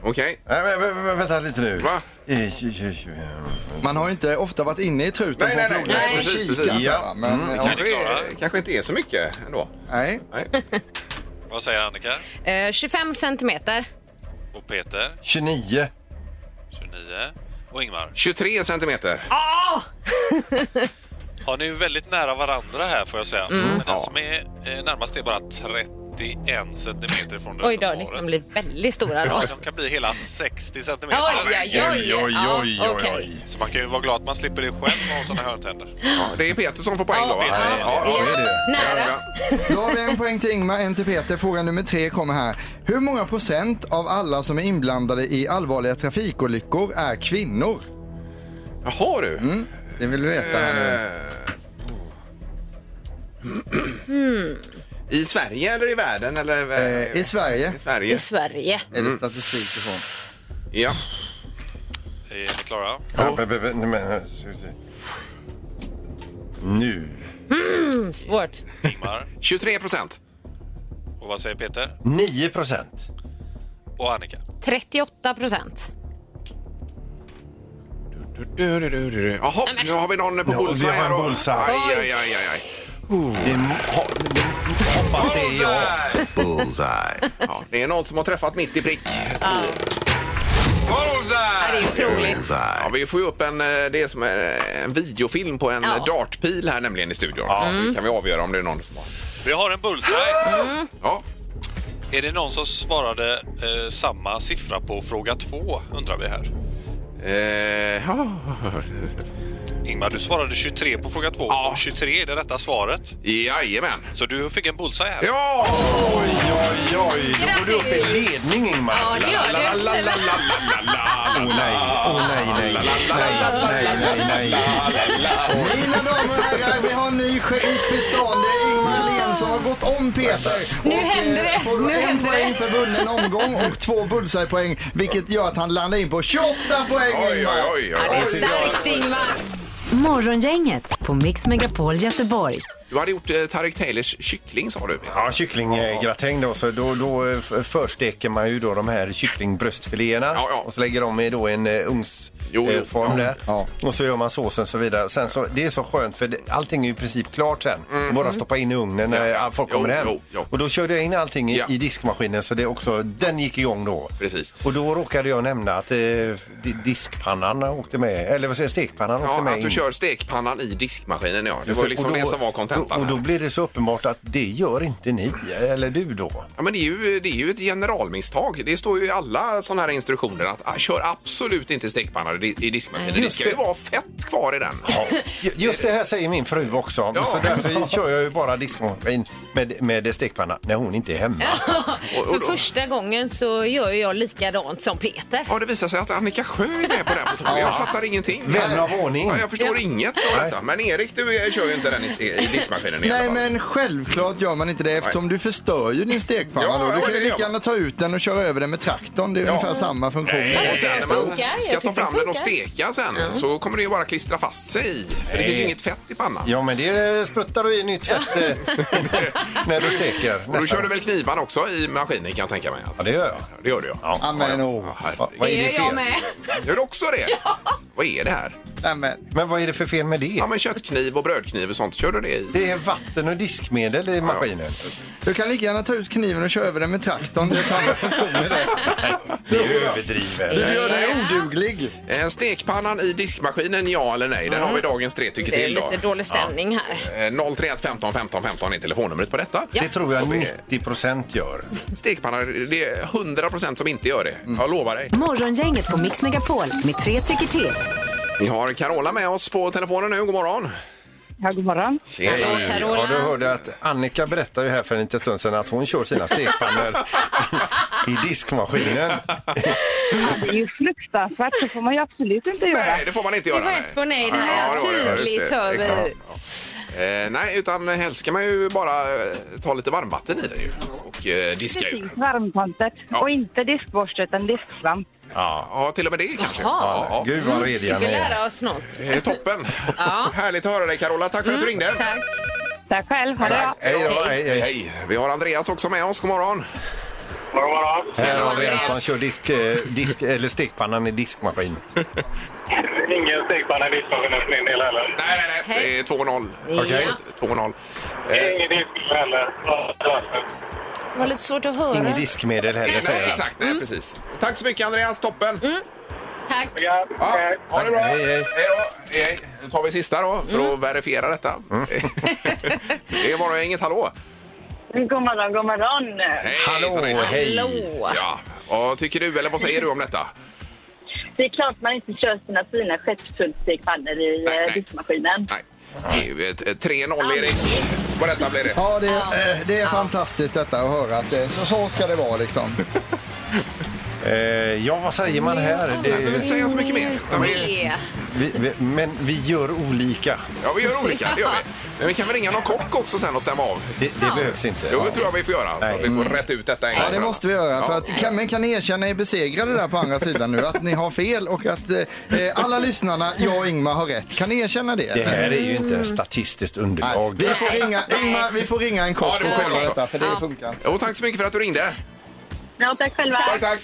Speaker 3: Okej.
Speaker 5: Nej, men, vä- vä- vänta lite nu.
Speaker 3: Va?
Speaker 5: I- tju- tju- tju-
Speaker 6: Man har ju inte ofta varit inne i truten på
Speaker 3: Nej, nej,
Speaker 6: en
Speaker 3: nej.
Speaker 6: flodhäst
Speaker 4: Nej.
Speaker 6: och
Speaker 3: Precis,
Speaker 6: kikat.
Speaker 3: precis.
Speaker 6: va? Men, ja,
Speaker 9: ni klara?
Speaker 3: Det kanske inte är så mycket ändå.
Speaker 6: nej.
Speaker 3: Nej.
Speaker 9: Vad säger Annika?
Speaker 4: Eh, 25 centimeter.
Speaker 9: Och Peter?
Speaker 5: 29.
Speaker 9: 29. Och Ingmar?
Speaker 3: 23 centimeter.
Speaker 9: Ja, ni är väldigt nära varandra här får jag säga.
Speaker 4: Mm.
Speaker 9: Men
Speaker 3: Ja.
Speaker 9: den som är eh, närmast är bara 31 centimeter från det
Speaker 4: Oj
Speaker 9: rätta
Speaker 4: då, liksom ni
Speaker 9: svaret.
Speaker 4: kan bli väldigt stora då.
Speaker 9: Ja, de kan bli hela 60 centimeter.
Speaker 4: Oj, oj, oj. Ja, okej.
Speaker 9: Så man kan ju vara glad att man slipper det själv och ha såna hörntänder.
Speaker 3: Ja, det är Peter som får poäng då, va?
Speaker 4: Ja,
Speaker 3: Ja, ja,
Speaker 4: ja.
Speaker 3: ja.
Speaker 4: Nära.
Speaker 6: Då har vi en poäng till Ingmar, en till Peter. Fråga nummer tre kommer här. Hur många procent av alla som är inblandade i allvarliga trafikolyckor är kvinnor?
Speaker 3: Jaha du. Eh.
Speaker 6: Det vill du veta här nu.
Speaker 4: Mm.
Speaker 3: I Sverige eller i världen? Eller,
Speaker 6: Eh, I Sverige
Speaker 3: I
Speaker 4: I
Speaker 3: Sverige.
Speaker 4: Sverige.
Speaker 6: är
Speaker 3: Mm.
Speaker 6: det statistik ifrån.
Speaker 3: Ja.
Speaker 9: Är ni klara?
Speaker 5: Ja, vä- vä- vä- nej, men- ska vi se. Nu.
Speaker 4: Mm, Svårt.
Speaker 9: Ingmar?
Speaker 3: 23 procent.
Speaker 9: Och vad säger Peter?
Speaker 5: 9 procent.
Speaker 9: Och Annika?
Speaker 4: 38 procent.
Speaker 3: Jaha, nu har vi någon på
Speaker 5: Ja, vi
Speaker 3: bullseye.
Speaker 5: har en
Speaker 3: här då.
Speaker 5: bullseye.
Speaker 3: Aj, aj, aj, aj, aj.
Speaker 5: Det har- hoppas det är jag.
Speaker 3: Bullseye. Ja, det är någon som har träffat mitt i prick.
Speaker 4: Ja, det är otroligt.
Speaker 3: Ja, vi får ju upp en, eh, det är som eh, en videofilm på en
Speaker 4: Ja. Mm.
Speaker 3: eh, dartpil här nämligen i studion. Ja. Så kan vi avgöra om det är någon som har...
Speaker 9: Vi har en bullseye!
Speaker 3: Mm. Ja,
Speaker 9: Är det någon som svarade eh, samma siffra på fråga två, undrar vi här.
Speaker 3: eh, ja.
Speaker 9: Ingmar, du svarade 23 på fråga två.
Speaker 3: Ja.
Speaker 9: Och 23 är det rätta svaret.
Speaker 3: jajamän.
Speaker 9: Så du fick en bullseye här.
Speaker 3: Ja!
Speaker 5: Oj, oj, oj. Då går du upp i ledning, Ingmar.
Speaker 4: Ja, det gör det.
Speaker 3: La, la, la, la, la, la.
Speaker 5: Åh nej, åh nej, nej, nej, nej, nej, nej.
Speaker 6: Mina damer och herrar, vi har en ny sheriff i stan. Det är Ingmar Ahlén som har gått om Peter.
Speaker 4: Nu
Speaker 6: Och,
Speaker 4: händer
Speaker 6: eh,
Speaker 4: det.
Speaker 6: Får
Speaker 4: Nu
Speaker 6: en
Speaker 4: händer
Speaker 6: poäng
Speaker 4: det.
Speaker 6: för vunnen omgång och två bullseye-poäng, vilket gör att han landar in på 28 poäng,
Speaker 3: Oj,
Speaker 6: Ingmar.
Speaker 3: oj, oj.
Speaker 4: Ja, det är
Speaker 3: oj.
Speaker 4: starkt, Ingmar.
Speaker 2: Morgongänget på Mix Megapol Göteborg.
Speaker 3: Du hade gjort eh, Tareq Taylors kyckling sa du.
Speaker 5: Ja, kycklinggratäng då. Så då, då eh, f- försteker man ju då de här kycklingbröstfiléerna
Speaker 3: Ja, ja.
Speaker 5: och så lägger de i då en eh,
Speaker 3: Jo, jo.
Speaker 5: ugnsform form där.
Speaker 6: Ja.
Speaker 5: Och så gör man såsen och så vidare. Sen så, det är så skönt för det, allting är ju i princip klart sen. Bara stoppa in i ugnen när
Speaker 3: Mm. Ja.
Speaker 5: folk
Speaker 3: Jo,
Speaker 5: kommer hem.
Speaker 3: jo, jo.
Speaker 5: Och då körde jag in allting i,
Speaker 3: Ja.
Speaker 5: i diskmaskinen så det också, den gick igång då.
Speaker 3: Precis.
Speaker 5: Och då råkade jag nämna att eh, di- diskpannan åkte med, eller vad säger jag, stekpannan
Speaker 3: Ja,
Speaker 5: åkte med
Speaker 3: att du
Speaker 5: in
Speaker 3: kör stekpannan i diskmaskinen, ja. Det var
Speaker 5: Och
Speaker 3: liksom
Speaker 5: då-
Speaker 3: det som var kontentan.
Speaker 5: Och då
Speaker 3: här.
Speaker 5: blir det så uppenbart att det gör inte ni, eller du då.
Speaker 3: Ja, men det, är ju, det är ju ett generalmisstag. Det står ju i alla sådana här instruktioner att ah, kör absolut inte stekpannan i, i diskmaskinen. Det
Speaker 5: Just
Speaker 3: ska ju
Speaker 5: det.
Speaker 3: vara fett kvar i den.
Speaker 5: Ju- Just det här säger min fru också,
Speaker 3: Ja.
Speaker 5: så därför kör jag ju bara diskmaskin med, med stekpanna när hon inte är hemma.
Speaker 3: Och- och
Speaker 4: För
Speaker 3: då-
Speaker 4: första gången så gör ju jag likadant som Peter.
Speaker 3: Ja, det visar sig att Annika Sjö är med på det här på tåget. Jag fattar ingenting.
Speaker 5: Vän av ordning.
Speaker 3: Ja, jag förstår inget av
Speaker 5: Nej.
Speaker 3: detta. Men Erik, du eh, kör ju inte den i, i diskmaskinen i alla
Speaker 6: Nej
Speaker 3: fall.
Speaker 6: men självklart gör man inte det eftersom du förstör ju din stekpanna
Speaker 3: Ja,
Speaker 6: då.
Speaker 3: ja,
Speaker 6: Du kan
Speaker 3: det
Speaker 6: ju
Speaker 3: gör
Speaker 6: lika
Speaker 3: man.
Speaker 6: gärna ta ut den och köra över den med traktorn. Det är
Speaker 3: Ja.
Speaker 6: ungefär samma funktion.
Speaker 3: Och sen när man
Speaker 4: funkar. Jag
Speaker 3: ska ta
Speaker 4: tycker
Speaker 3: fram
Speaker 4: det
Speaker 3: den och
Speaker 4: funkar.
Speaker 3: steka sen så kommer det ju bara klistra fast sig i. För det finns ju inget fett i pannan.
Speaker 5: Ja, men det spruttar du i nytt fett eh, när du steker.
Speaker 3: Och då
Speaker 5: nästan.
Speaker 3: kör du väl knivarna också i maskinen kan jag tänka mig.
Speaker 5: Ja, det gör jag.
Speaker 3: Det gör du ja.
Speaker 5: Ja.
Speaker 6: Amen,
Speaker 3: Ja,
Speaker 6: oh.
Speaker 5: Va,
Speaker 3: herregud.
Speaker 5: vad är det
Speaker 4: gör jag
Speaker 5: fel?
Speaker 4: med.
Speaker 3: Gör du också det? Vad är det här?
Speaker 6: Amen.
Speaker 5: Men vad är det för fel med det?
Speaker 3: Ja, men köttkniv och brödkniv och sånt. Kör du det i?
Speaker 5: Det är vatten och diskmedel i maskinen.
Speaker 6: Du kan lika gärna ta ut kniven och köra över den med traktorn. Det är samma funktion i det.
Speaker 5: Det är överdrivet.
Speaker 6: Du gör dig oduglig.
Speaker 3: Eh, Stekpannan i diskmaskinen, ja eller nej? Den har vi dagens tre tycker
Speaker 4: Det är
Speaker 3: till. Då.
Speaker 4: lite dålig stämning här.
Speaker 3: Eh, 031 15 15 15 är telefonnumret på detta.
Speaker 5: Det tror jag 90 procent gör.
Speaker 3: Stekpanna, det är 100 som inte gör det.
Speaker 4: Mm.
Speaker 3: Jag lovar dig.
Speaker 2: Morgongänget på Mix Megapol med tre tycker till.
Speaker 3: Vi har Carola med oss på telefonen nu. God morgon!
Speaker 7: Ja, god morgon.
Speaker 4: Hallå
Speaker 5: Ja, du
Speaker 4: Carola.
Speaker 5: hörde att Annika berättade ju här för en liten stund sedan att hon kör sina stekpannor i diskmaskinen.
Speaker 7: Det är ju fruktansvärt. Så får man ju absolut inte göra.
Speaker 3: Nej, det får man inte
Speaker 4: Det
Speaker 3: göra.
Speaker 4: var ett på nej, det här.
Speaker 3: det var det, ja, just det.
Speaker 4: Tydligt hör vi.
Speaker 3: Exakt, ja. Eh, nej, utan helst ska man ju bara eh, ta lite varmvatten i den ju och eh, diska ur.
Speaker 7: Precis, varmtante.
Speaker 3: Ja.
Speaker 7: Och inte diskborste utan disksvamp.
Speaker 3: Ja, ja, till och med det kanske.
Speaker 4: Jaha.
Speaker 3: Ja, ja.
Speaker 5: Gud vad rediga
Speaker 4: Vi
Speaker 5: ni
Speaker 4: får
Speaker 5: är.
Speaker 4: lära oss något.
Speaker 3: Eh, Toppen!
Speaker 4: Ja. Mm.
Speaker 3: Härligt att höra dig Carola. Tack för att du ringde.
Speaker 4: Tack.
Speaker 7: Tack själv. Ha det bra.
Speaker 5: Hej då, hej,
Speaker 3: Hej,
Speaker 5: hej.
Speaker 3: hej. Vi har Andreas också med oss. God morgon!
Speaker 1: God morgon.
Speaker 5: Här har vi en
Speaker 4: Andreas.
Speaker 5: som kör disk, eh, disk, eller stekpannan i diskmaskin.
Speaker 1: Ingen stekpanna i diskmaskinen för min del heller.
Speaker 3: Nej, nej, nej.
Speaker 4: Hej.
Speaker 3: Det är 2-0.
Speaker 4: Ja.
Speaker 3: Okej, 2-0. Eh,
Speaker 1: Ingen disk heller.
Speaker 4: Det var lite svårt att höra.
Speaker 5: Inget diskmedel heller
Speaker 3: nej,
Speaker 5: säger jag.
Speaker 3: exakt.
Speaker 4: Mm.
Speaker 3: Nej, precis. Tack så mycket Andreas. Toppen!
Speaker 4: Tack.
Speaker 3: Ja, ha det bra!
Speaker 5: Hej, hej.
Speaker 3: då! Hej, hej. Nu tar vi sista då för
Speaker 4: Mm.
Speaker 3: att verifiera detta. det var nog inget hallå.
Speaker 7: God morgon, god morgon.
Speaker 3: Hej,
Speaker 5: Hallå,
Speaker 3: hejsan, hejsan.
Speaker 5: hej.
Speaker 4: Hallå.
Speaker 3: Ja, vad tycker du eller vad säger du om detta?
Speaker 7: Det är klart man inte kör sina fina skeppsfullstekpannor i
Speaker 3: Nej,
Speaker 7: eh,
Speaker 3: nej.
Speaker 7: diskmaskinen.
Speaker 3: Nej, det är ju ett- ett 3-0 Erik. På detta blir det.
Speaker 6: Ja, det, eh, det är fantastiskt detta att höra att det, så, så ska det vara liksom.
Speaker 5: Eh, ja, vad säger man här?
Speaker 3: Jag vill
Speaker 5: Det,
Speaker 3: inte säga så mycket mer. Ja, vi,
Speaker 4: Det.
Speaker 5: vi, vi, men vi gör olika.
Speaker 3: ja, vi gör olika, det gör vi. Men vi kan väl ringa någon kock också sen och stämma av?
Speaker 5: Det, det behövs inte.
Speaker 3: Jo, det tror jag vi får göra. Så
Speaker 5: Nej.
Speaker 3: att vi får rätta ut detta en gång
Speaker 6: Ja, det
Speaker 3: för
Speaker 6: måste vi
Speaker 3: alla.
Speaker 6: göra. För
Speaker 3: Ja.
Speaker 6: att kan, men kan ni erkänna er besegrade där på andra sidan nu? Att ni har fel och att eh, eh, alla lyssnarna, jag och Ingmar, har rätt. Kan ni erkänna det?
Speaker 5: Det här är ju inte statistiskt
Speaker 6: Nej,
Speaker 5: underlag.
Speaker 6: vi, får ringa, Ingmar, vi får ringa en kock
Speaker 3: Ja, det får
Speaker 6: och
Speaker 3: vi
Speaker 6: kolla
Speaker 3: också.
Speaker 6: detta, för det funkar.
Speaker 3: Jo, tack så mycket för att du ringde.
Speaker 7: Ja, tack själva.
Speaker 3: Tack, tack.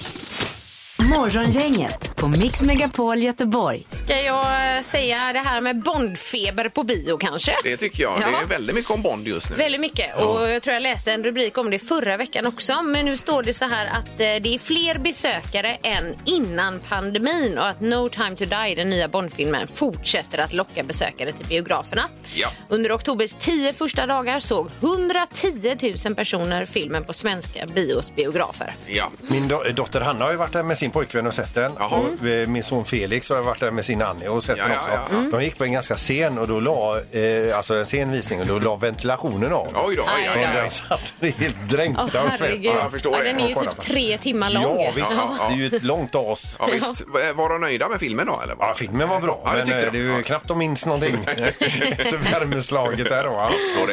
Speaker 2: Morgongänget på Mix Megapol Göteborg.
Speaker 4: Ska jag eh, säga det här med Bondfeber på bio kanske?
Speaker 3: Det tycker jag. Det
Speaker 4: Ja.
Speaker 3: är väldigt mycket om Bond just nu.
Speaker 4: Väldigt mycket. Och jag tror jag läste en rubrik om det förra veckan också. Men nu står det så här att eh, det är fler besökare än innan pandemin och att No time to die, den nya Bondfilmen, fortsätter att locka besökare till biograferna.
Speaker 3: Ja.
Speaker 4: Under oktobers tio första dagar såg 110 000 personer filmen på svenska bios biografer.
Speaker 3: Ja.
Speaker 5: Min do- eh, dotter Hanna har ju varit där med sin pojkvän och sett den.
Speaker 3: Jaha. Mm.
Speaker 5: Och eh, min son Felix har varit där med sin Annie och sett
Speaker 3: Ja,
Speaker 5: den
Speaker 3: ja,
Speaker 5: också.
Speaker 3: ja.
Speaker 5: De gick på en ganska sen och då la, eh, alltså en sen visning och då la ventilationen av.
Speaker 3: Oj då, oj, oj,
Speaker 5: Så
Speaker 3: oj,
Speaker 5: den
Speaker 3: oj.
Speaker 5: satt helt dränkt
Speaker 4: Åh,
Speaker 5: av
Speaker 4: herregud.
Speaker 5: svett.
Speaker 3: Ja, jag förstår det.
Speaker 4: den är ju
Speaker 5: Och kolla
Speaker 4: typ
Speaker 5: på.
Speaker 4: tre timmar lång.
Speaker 5: Ja, visst.
Speaker 3: Ja, ja.
Speaker 5: Det är ju ett långt as.
Speaker 3: Ja, visst. Var de nöjda med filmen då? Eller?
Speaker 5: Ja, filmen var bra,
Speaker 3: Ja, det
Speaker 5: men
Speaker 3: tyckte
Speaker 5: eh,
Speaker 3: de.
Speaker 5: det är ju
Speaker 3: Ja.
Speaker 5: knappt de minns någonting efter värmeslaget där då. va?
Speaker 3: Förstår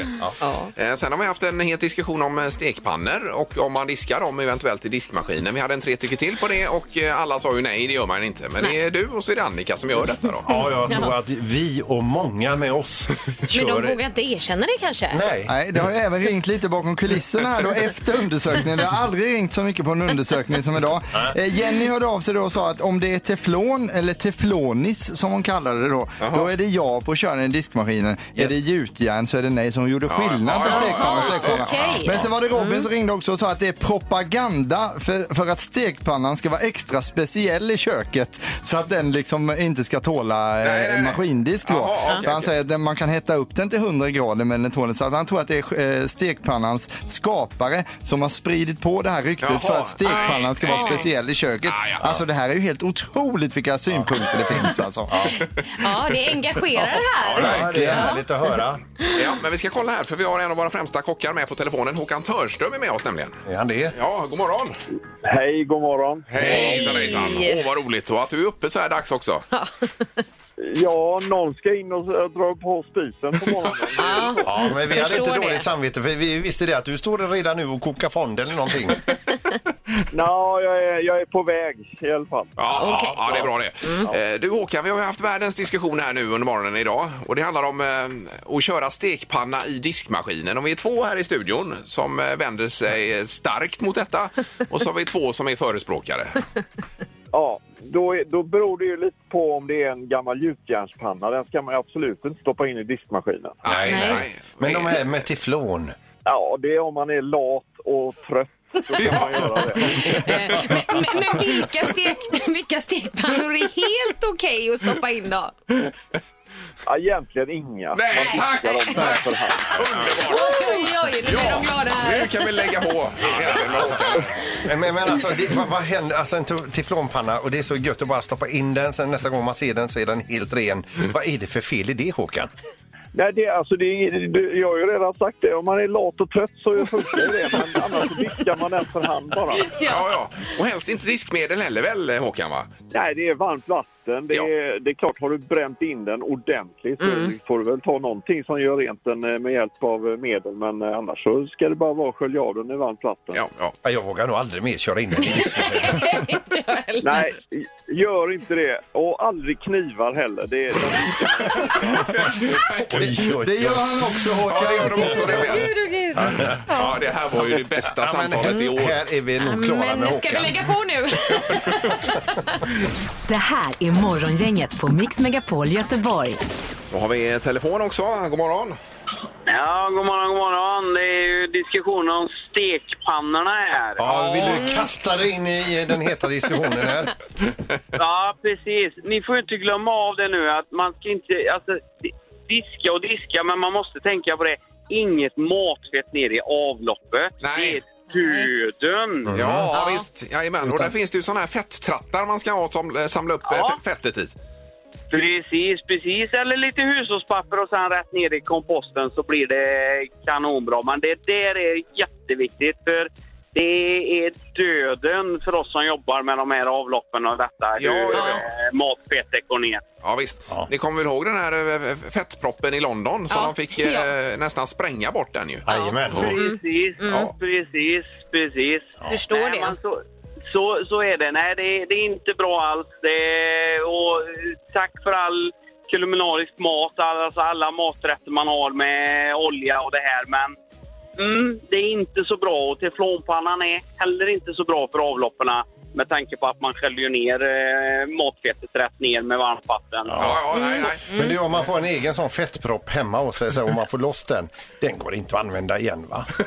Speaker 3: det. Eh, Sen har vi haft en het diskussion om eh, stekpannor och om man diskar dem eventuellt i diskmaskinen. Vi hade en tre tycker till på det och eh, alla sa ju nej, det gör man inte. Men det är du och så är det Annika som gör detta då.
Speaker 5: Ja, jag tror att vi och många med oss
Speaker 4: Men
Speaker 5: kör...
Speaker 4: de vågar inte erkänna det kanske?
Speaker 5: Nej.
Speaker 6: Nej, det har ju även ringt lite bakom kulisserna här då efter undersökningen. Det har aldrig ringt så mycket på en undersökning som idag. Eh, Jenny hörde av sig då och sa att om det är teflon eller teflonis som hon kallade det då, då är det ja på körningen i diskmaskinen. Är det gjutjärn så är det nej. Så hon gjorde skillnad på
Speaker 3: ja, Mm. ja,
Speaker 6: stekpanna och
Speaker 3: ja,
Speaker 6: stekpanna.
Speaker 4: okej.
Speaker 6: Men sen var det Robin som ringde också och sa att det är propaganda för, för att stekpannan ska vara extra speciell i köket så att den liksom inte ska tåla eh,
Speaker 3: Nej, nej, nej.
Speaker 6: maskindisk. Då.
Speaker 3: Jaha, okej,
Speaker 6: För han
Speaker 3: okej.
Speaker 6: säger att den- man kan hetta upp den till 100 grader men den tål inte. Så att han tror att det är eh, stekpannans skapare som har spridit på det här ryktet
Speaker 3: Jaha.
Speaker 6: för att stekpannan ska
Speaker 3: Nej,
Speaker 6: vara
Speaker 3: nej.
Speaker 6: speciell i köket.
Speaker 3: Ah, jaha.
Speaker 6: Alltså det här är ju helt otroligt vilka synpunkter det finns alltså.
Speaker 4: Ja, det engagerar här.
Speaker 5: Ja, det är härligt att höra.
Speaker 3: Ja, men vi ska kolla här för vi har en av våra främsta kockar med på telefonen. Håkan Törström är med oss nämligen.
Speaker 5: Är han det?
Speaker 3: Ja, god morgon!
Speaker 1: Hej, god morgon.
Speaker 3: Hej, hejsan hejsan! Åh, vad roligt och att du är uppe så här dags också.
Speaker 1: Ja, någon ska in och eh, dra på spisen på morgonen.
Speaker 4: Ja.
Speaker 5: Ja, men vi hade
Speaker 4: Förstår
Speaker 5: inte
Speaker 4: det.
Speaker 5: dåligt samvete för vi visste det att du står redan nu och kokar fond eller någonting.
Speaker 1: Nå, jag är, jag är på väg i alla fall.
Speaker 3: Ja,
Speaker 4: Okej.
Speaker 3: ja, det är bra det. Eh, Du Håkan, vi har ju haft världens diskussion här nu under morgonen idag. Och det handlar om eh, att köra stekpanna i diskmaskinen. Och vi är två här i studion som eh, vänder sig eh, starkt mot detta. Och så har vi två som är förespråkare.
Speaker 1: Ja, då, är- då beror det ju lite på om det är en gammal gjutjärnspanna. Den ska man ju absolut inte stoppa in i diskmaskinen.
Speaker 3: Nej, nej.
Speaker 5: Men de här med teflon.
Speaker 1: Ja, det är om man är lat och trött. Då kan man göra det.
Speaker 4: Eh, Men, men, men vilka, stek, vilka stekpannor är helt okej att stoppa in då?
Speaker 1: Ja, egentligen inga.
Speaker 3: Nej,
Speaker 1: Man
Speaker 3: tack!
Speaker 1: fiskar dem här för hand.
Speaker 3: Underbart!
Speaker 4: Oj, oj, nu blir de glada
Speaker 3: Nu
Speaker 4: här.
Speaker 3: kan vi lägga på.
Speaker 5: Men, men alltså, det, vad, vad händer? Alltså en te- teflonpanna och det är så gött att bara stoppa in den. Sen nästa gång man ser den så är den helt ren. Vad är det för fel i det Håkan?
Speaker 1: Nej, det, är- alltså, det, är- det, jag har ju redan sagt det. Om man är lat och trött så funkar ju det. Men annars viskar man den för hand bara.
Speaker 3: Ja, ja. Och helst inte diskmedel heller väl, Håkan? Va?
Speaker 1: Nej, det är varmt vatten. Det
Speaker 3: Ja.
Speaker 1: är, det är klart, har du bränt in den ordentligt så får du väl ta någonting som gör rent den eh, med hjälp av eh, medel. Men eh, annars så ska det bara vara att skölja av den i varmt vatten.
Speaker 3: Ja, ja.
Speaker 5: Ja, Jag vågar nog aldrig mer köra in den i diskmaskinen.
Speaker 1: Nej, gör inte det. Och aldrig knivar heller. Det är,
Speaker 5: Oj, oj,
Speaker 6: Det
Speaker 5: oj.
Speaker 6: gör han också
Speaker 3: Ja, det
Speaker 6: Håkan.
Speaker 3: gör de också. Det med.
Speaker 4: Gud, oh, gud.
Speaker 3: Ja, det här var ju det bästa
Speaker 5: Ja, men
Speaker 3: samtalet i
Speaker 1: Mm.
Speaker 5: här,
Speaker 3: år.
Speaker 5: här är vi nog klara med
Speaker 4: Mm, Men ska vi
Speaker 5: Håkan.
Speaker 4: lägga på nu?
Speaker 2: Det här är Morgongänget på Mix Megapol Göteborg.
Speaker 3: Så har vi telefon också. God morgon.
Speaker 7: Ja, god morgon, god morgon. Det är ju diskussion om stekpannorna här.
Speaker 5: Ja, vill du kasta dig in i den heta diskussionen här?
Speaker 7: Ja, precis. Ni får ju inte glömma av det nu att man ska inte... Alltså, di- diska och diska, men man måste tänka på det. Inget matfett ner i avloppet.
Speaker 3: Nej.
Speaker 7: Det är döden.
Speaker 5: Mm.
Speaker 3: Ja, visst. Jajamän. Och där finns det ju såna här fetttrattar man ska ha som eh, samlar upp eh,
Speaker 7: Ja.
Speaker 3: fe- fettet i.
Speaker 7: Precis, precis. Eller lite hushållspapper och sen rätt ner i komposten så blir det kanonbra. Men det där är jätteviktigt för det är döden för oss som jobbar med de här avloppen och detta.
Speaker 3: Ja,
Speaker 7: hur
Speaker 3: ja, ja.
Speaker 7: eh, matfettet går ner.
Speaker 3: Ja, visst.
Speaker 5: Ja.
Speaker 3: Ni kommer väl ihåg den här eh, fettproppen i London som
Speaker 4: Ja.
Speaker 3: de fick eh,
Speaker 4: Ja.
Speaker 3: nästan spränga bort den ju.
Speaker 5: Jajamän.
Speaker 7: Precis,
Speaker 3: Mm. Ja.
Speaker 7: precis, precis.
Speaker 4: Förstår
Speaker 7: Nej,
Speaker 4: det.
Speaker 7: men Så, så, så är det. Nej, det, det är inte bra alls. Det, och eh, tack för all kulinarisk mat, alltså alla maträtter man har med olja och det här. Men mm, det är inte så bra. Och teflonpannan är heller inte så bra för avloppen med tanke på att man sköljer ner eh, matfettet rätt ner med varmt vatten.
Speaker 3: Ja, ja, nej, nej.
Speaker 5: Men du, om man får en egen sån fettpropp hemma och så, så, om man får loss den, den går inte att använda igen va?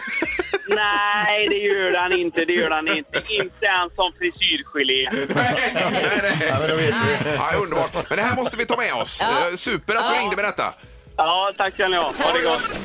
Speaker 7: Nej, det gör den inte. Det gör den inte. Inte ens som frisyrgelé.
Speaker 3: nej, nej.
Speaker 5: Ja, men då vet vi.
Speaker 3: Ja, underbart. Men det här måste vi ta med oss. Eh, Super att du ringde med detta.
Speaker 7: Ja, tack ska ni ha. Ha det gott.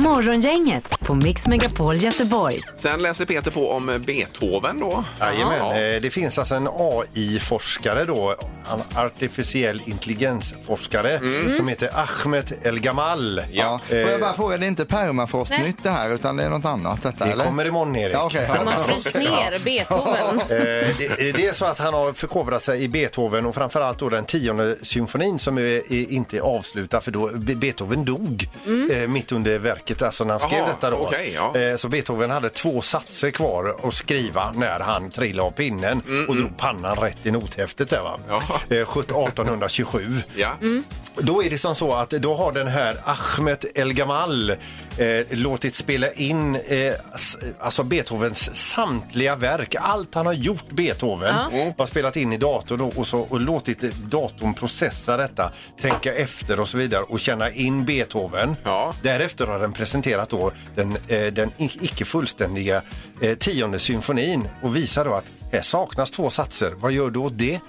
Speaker 2: Morgongänget på Mix Megapol Göteborg.
Speaker 3: Sen läser Peter på om Beethoven då.
Speaker 5: Jajamän, eh, det finns alltså en AI-forskare då, en artificiell intelligensforskare som heter Ahmed El Gamal.
Speaker 6: Mm.
Speaker 5: Eh,
Speaker 6: Ja. Får jag
Speaker 3: Eh.
Speaker 6: bara fråga, det är inte permafrostnytt det här utan det är något annat detta
Speaker 5: Det
Speaker 6: eller?
Speaker 5: kommer imorgon Erik.
Speaker 6: Ja, okej.
Speaker 4: Man fryst ner Beethoven.
Speaker 5: Eh, det, det är så att han har förkovrat sig i Beethoven och framförallt då den tionde symfonin som är, är inte är avslutad för då Be- Beethoven dog eh, mitt under verket, alltså när han skrev
Speaker 3: Mm. Jaha,
Speaker 5: detta då.
Speaker 3: okej, ja.
Speaker 5: eh, så Beethoven hade två satser kvar att skriva när han trillade av pinnen
Speaker 3: Mm,
Speaker 5: och drog pannan rätt i nothäftet där va.
Speaker 3: Ja.
Speaker 5: Eh, 17- 1827.
Speaker 3: Ja.
Speaker 5: Då är det som så att då har den här Ahmet El Gamal eh, låtit spela in eh, s- alltså Beethovens samtliga verk. Allt han har gjort Beethoven har spelat in i datorn och, och, så, och låtit datorn processa detta, tänka efter och så vidare och känna in Beethoven.
Speaker 3: Ja.
Speaker 5: Därefter har den presenterat då den, eh, den i- icke fullständiga eh, tionde symfonin och visar då att här saknas två satser. Vad gör du åt det?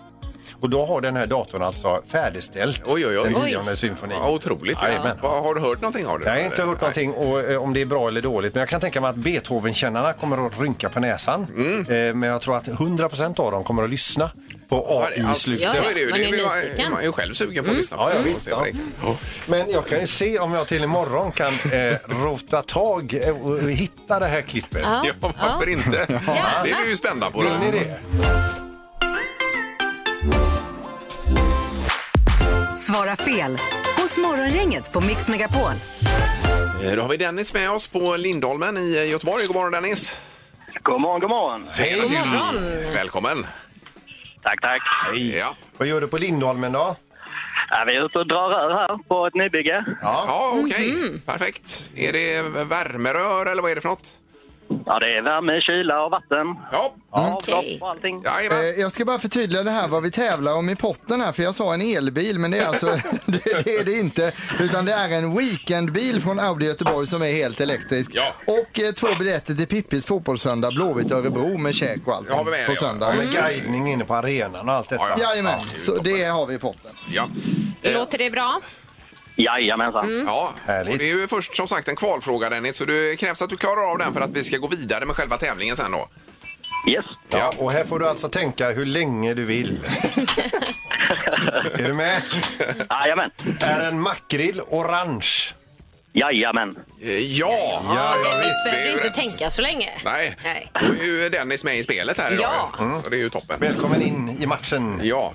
Speaker 5: Och då har den här datorn alltså färdigställt
Speaker 3: Oj, oj, oj.
Speaker 5: den
Speaker 3: Oj.
Speaker 5: tionde symfonin.
Speaker 3: Ja, otroligt.
Speaker 5: Jajamän.
Speaker 3: Vad- Har du hört någonting av det?
Speaker 5: Jag har inte hört någonting och, eh, om det är bra eller dåligt men jag kan tänka mig att Beethoven-kännarna kommer att rynka på näsan.
Speaker 3: Mm.
Speaker 5: Eh, men jag tror att 100% av dem kommer att lyssna på
Speaker 3: Ja,
Speaker 5: AI
Speaker 3: det- ja,
Speaker 5: slutet. Mm.
Speaker 3: Så är det ju.
Speaker 4: man
Speaker 3: Det
Speaker 4: är
Speaker 3: är ju-
Speaker 4: nyfiken.
Speaker 3: Man är ju själv sugen på att lyssna.
Speaker 5: Ja, ja,
Speaker 3: Och
Speaker 5: visst,
Speaker 3: se vad det
Speaker 5: ja.
Speaker 3: kan.
Speaker 5: Men jag kan ju se om jag till imorgon kan eh, rota tag eh, och hitta det här klippet.
Speaker 3: Ja, varför inte? Det är vi ju spända på. då.
Speaker 5: Vill ni det?
Speaker 2: Svara fel hos Morgongänget på Mix Megapol.
Speaker 3: Eh, Då har vi Dennis med oss på Lindholmen i eh, Göteborg. God morgon Dennis!
Speaker 7: God morgon, god morgon.
Speaker 3: Hej! God morgon. Välkommen!
Speaker 7: Tack, tack.
Speaker 3: Ja.
Speaker 5: Vad gör du på Lindholmen då?
Speaker 7: Ja, vi är ute och drar rör här på ett nybygge.
Speaker 3: Ja, okej. Perfekt. Är det värmerör eller vad är det för något?
Speaker 7: Ja, det är värme, kyla och vatten.
Speaker 3: Ja,
Speaker 4: Okej.
Speaker 7: Avlopp och allting.
Speaker 3: jajamän.
Speaker 6: Eh, Jag ska bara förtydliga det här vad vi tävlar om i potten här för jag sa en elbil men det är alltså det, det är det inte utan det är en weekendbil från Audi Göteborg som är helt elektrisk.
Speaker 3: Ja.
Speaker 6: Och eh, två biljetter till Pippis fotbollssöndag Blåvitt Örebro med käk och allt
Speaker 3: Ja, vi är med,
Speaker 6: på
Speaker 3: ja.
Speaker 6: söndag.
Speaker 5: Med guidning inne på arenan och allt detta.
Speaker 3: Ja, ja.
Speaker 6: Jajamän,
Speaker 3: det är ju
Speaker 6: så
Speaker 3: toppen.
Speaker 6: det har vi i potten.
Speaker 3: Ja. Eh,
Speaker 4: Låter det bra?
Speaker 7: Jajamensan.
Speaker 3: Ja,
Speaker 5: Härligt.
Speaker 3: och det är ju först som sagt en kvalfråga Dennis, så det krävs att du klarar av den för att vi ska gå vidare med själva tävlingen sen då.
Speaker 7: Yes.
Speaker 5: Ja, och här får du alltså tänka hur länge du vill. är du med?
Speaker 7: Jajamän.
Speaker 5: Är en makrill orange?
Speaker 7: Jajamän.
Speaker 3: Eh, Ja,
Speaker 5: Ja, ja,
Speaker 3: visst,
Speaker 4: Dennis behöver
Speaker 3: ju
Speaker 4: inte
Speaker 3: rätt.
Speaker 4: tänka så länge.
Speaker 3: Nej,
Speaker 4: Nej.
Speaker 3: då är ju Dennis med i spelet här idag.
Speaker 4: Ja.
Speaker 3: Mm. Så det är ju toppen.
Speaker 5: Välkommen in i matchen.
Speaker 3: Ja.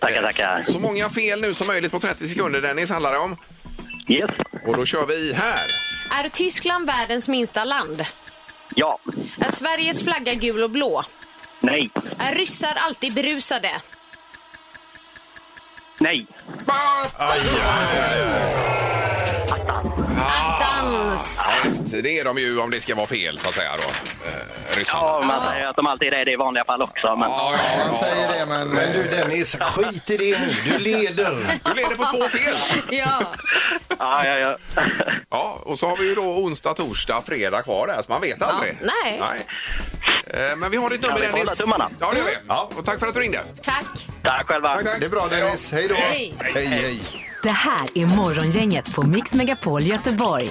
Speaker 7: Tackar, tackar.
Speaker 3: Så många fel nu som möjligt på 30 sekunder Dennis handlar det om.
Speaker 7: Yes.
Speaker 3: Och då kör vi här.
Speaker 4: Är Tyskland världens minsta land?
Speaker 7: Ja.
Speaker 4: Är Sveriges flagga gul och blå?
Speaker 7: Nej.
Speaker 4: Är ryssar alltid berusade?
Speaker 7: Nej.
Speaker 4: Attans!
Speaker 3: Ja, visst, det är de ju om det ska vara fel så att säga då. Eh, ryssarna.
Speaker 7: Ja, man säger att de alltid är det i vanliga fall också. Men...
Speaker 3: Ja, ja,
Speaker 6: Han säger det men...
Speaker 5: Men du Dennis, skit i det nu. Du leder.
Speaker 3: Du leder på två fel.
Speaker 4: Ja,
Speaker 7: Ja, ja, ja.
Speaker 3: Ja, och så har vi ju då onsdag, torsdag, fredag kvar där, så man vet aldrig.
Speaker 4: nej.
Speaker 3: Eh, Men vi har ditt nummer,
Speaker 7: vi får
Speaker 3: Dennis.
Speaker 7: hålla tummarna.
Speaker 3: Ja, det gör vi. Ja. Och tack för att du ringde.
Speaker 4: tack.
Speaker 7: Tack själva.
Speaker 5: Det är bra Dennis. Hej då.
Speaker 4: Hej.
Speaker 5: hej. hej.
Speaker 2: Det här är Morgongänget på Mix Megapol Göteborg.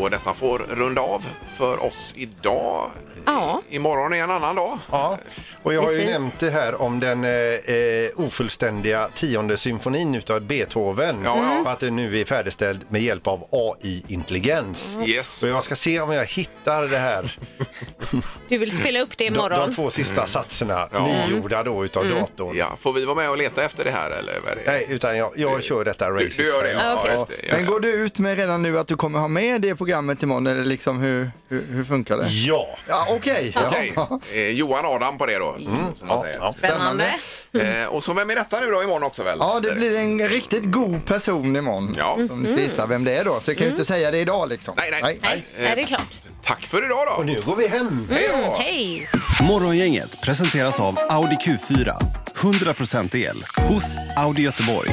Speaker 3: Och detta får runda av för oss idag.
Speaker 4: Ja.
Speaker 3: Imorgon är en annan dag.
Speaker 5: Ja, och jag har ju
Speaker 4: Precis.
Speaker 5: nämnt det här om den eh, eh, ofullständiga tionde symfonin utav Beethoven.
Speaker 3: Ja, ja.
Speaker 5: Och Att den nu är färdigställd med hjälp av AI-intelligens.
Speaker 3: Yes.
Speaker 5: Och jag ska se om jag hittar det här,
Speaker 4: Du vill spela upp det
Speaker 5: de, de
Speaker 4: imorgon? Mm.
Speaker 5: två sista satserna, nygjorda då utav datorn.
Speaker 3: Mm. Ja, får vi vara med och leta efter det här eller vad är det?
Speaker 5: Nej, utan jag, jag kör detta
Speaker 3: Du,
Speaker 5: racet.
Speaker 3: du gör det? Ja,
Speaker 4: Okej.
Speaker 3: just det. Ja.
Speaker 6: Men går du ut med redan nu att du kommer ha med det programmet imorgon eller liksom hur, hur, hur funkar det?
Speaker 5: Ja.
Speaker 6: Ja okej.
Speaker 3: Okej.
Speaker 6: Ja.
Speaker 3: Eh, Johan Adam på det då, så- så- som man
Speaker 5: Ja,
Speaker 3: säger.
Speaker 5: ja.
Speaker 4: Spännande.
Speaker 3: Eh, och så vem är detta nu då imorgon också väl?
Speaker 6: Ja, det blir en riktigt god person imorgon.
Speaker 3: Ja.
Speaker 6: Om ni ska gissa vem det är då. Så jag kan ju inte säga det idag liksom.
Speaker 3: Mm. Nej, nej.
Speaker 4: Nej, är det klart?
Speaker 3: Tack för idag då!
Speaker 5: Och nu går vi hem.
Speaker 4: Mm, hej!
Speaker 10: Morgongänget presenteras av Audi Q4. 100% el hos Audi Göteborg.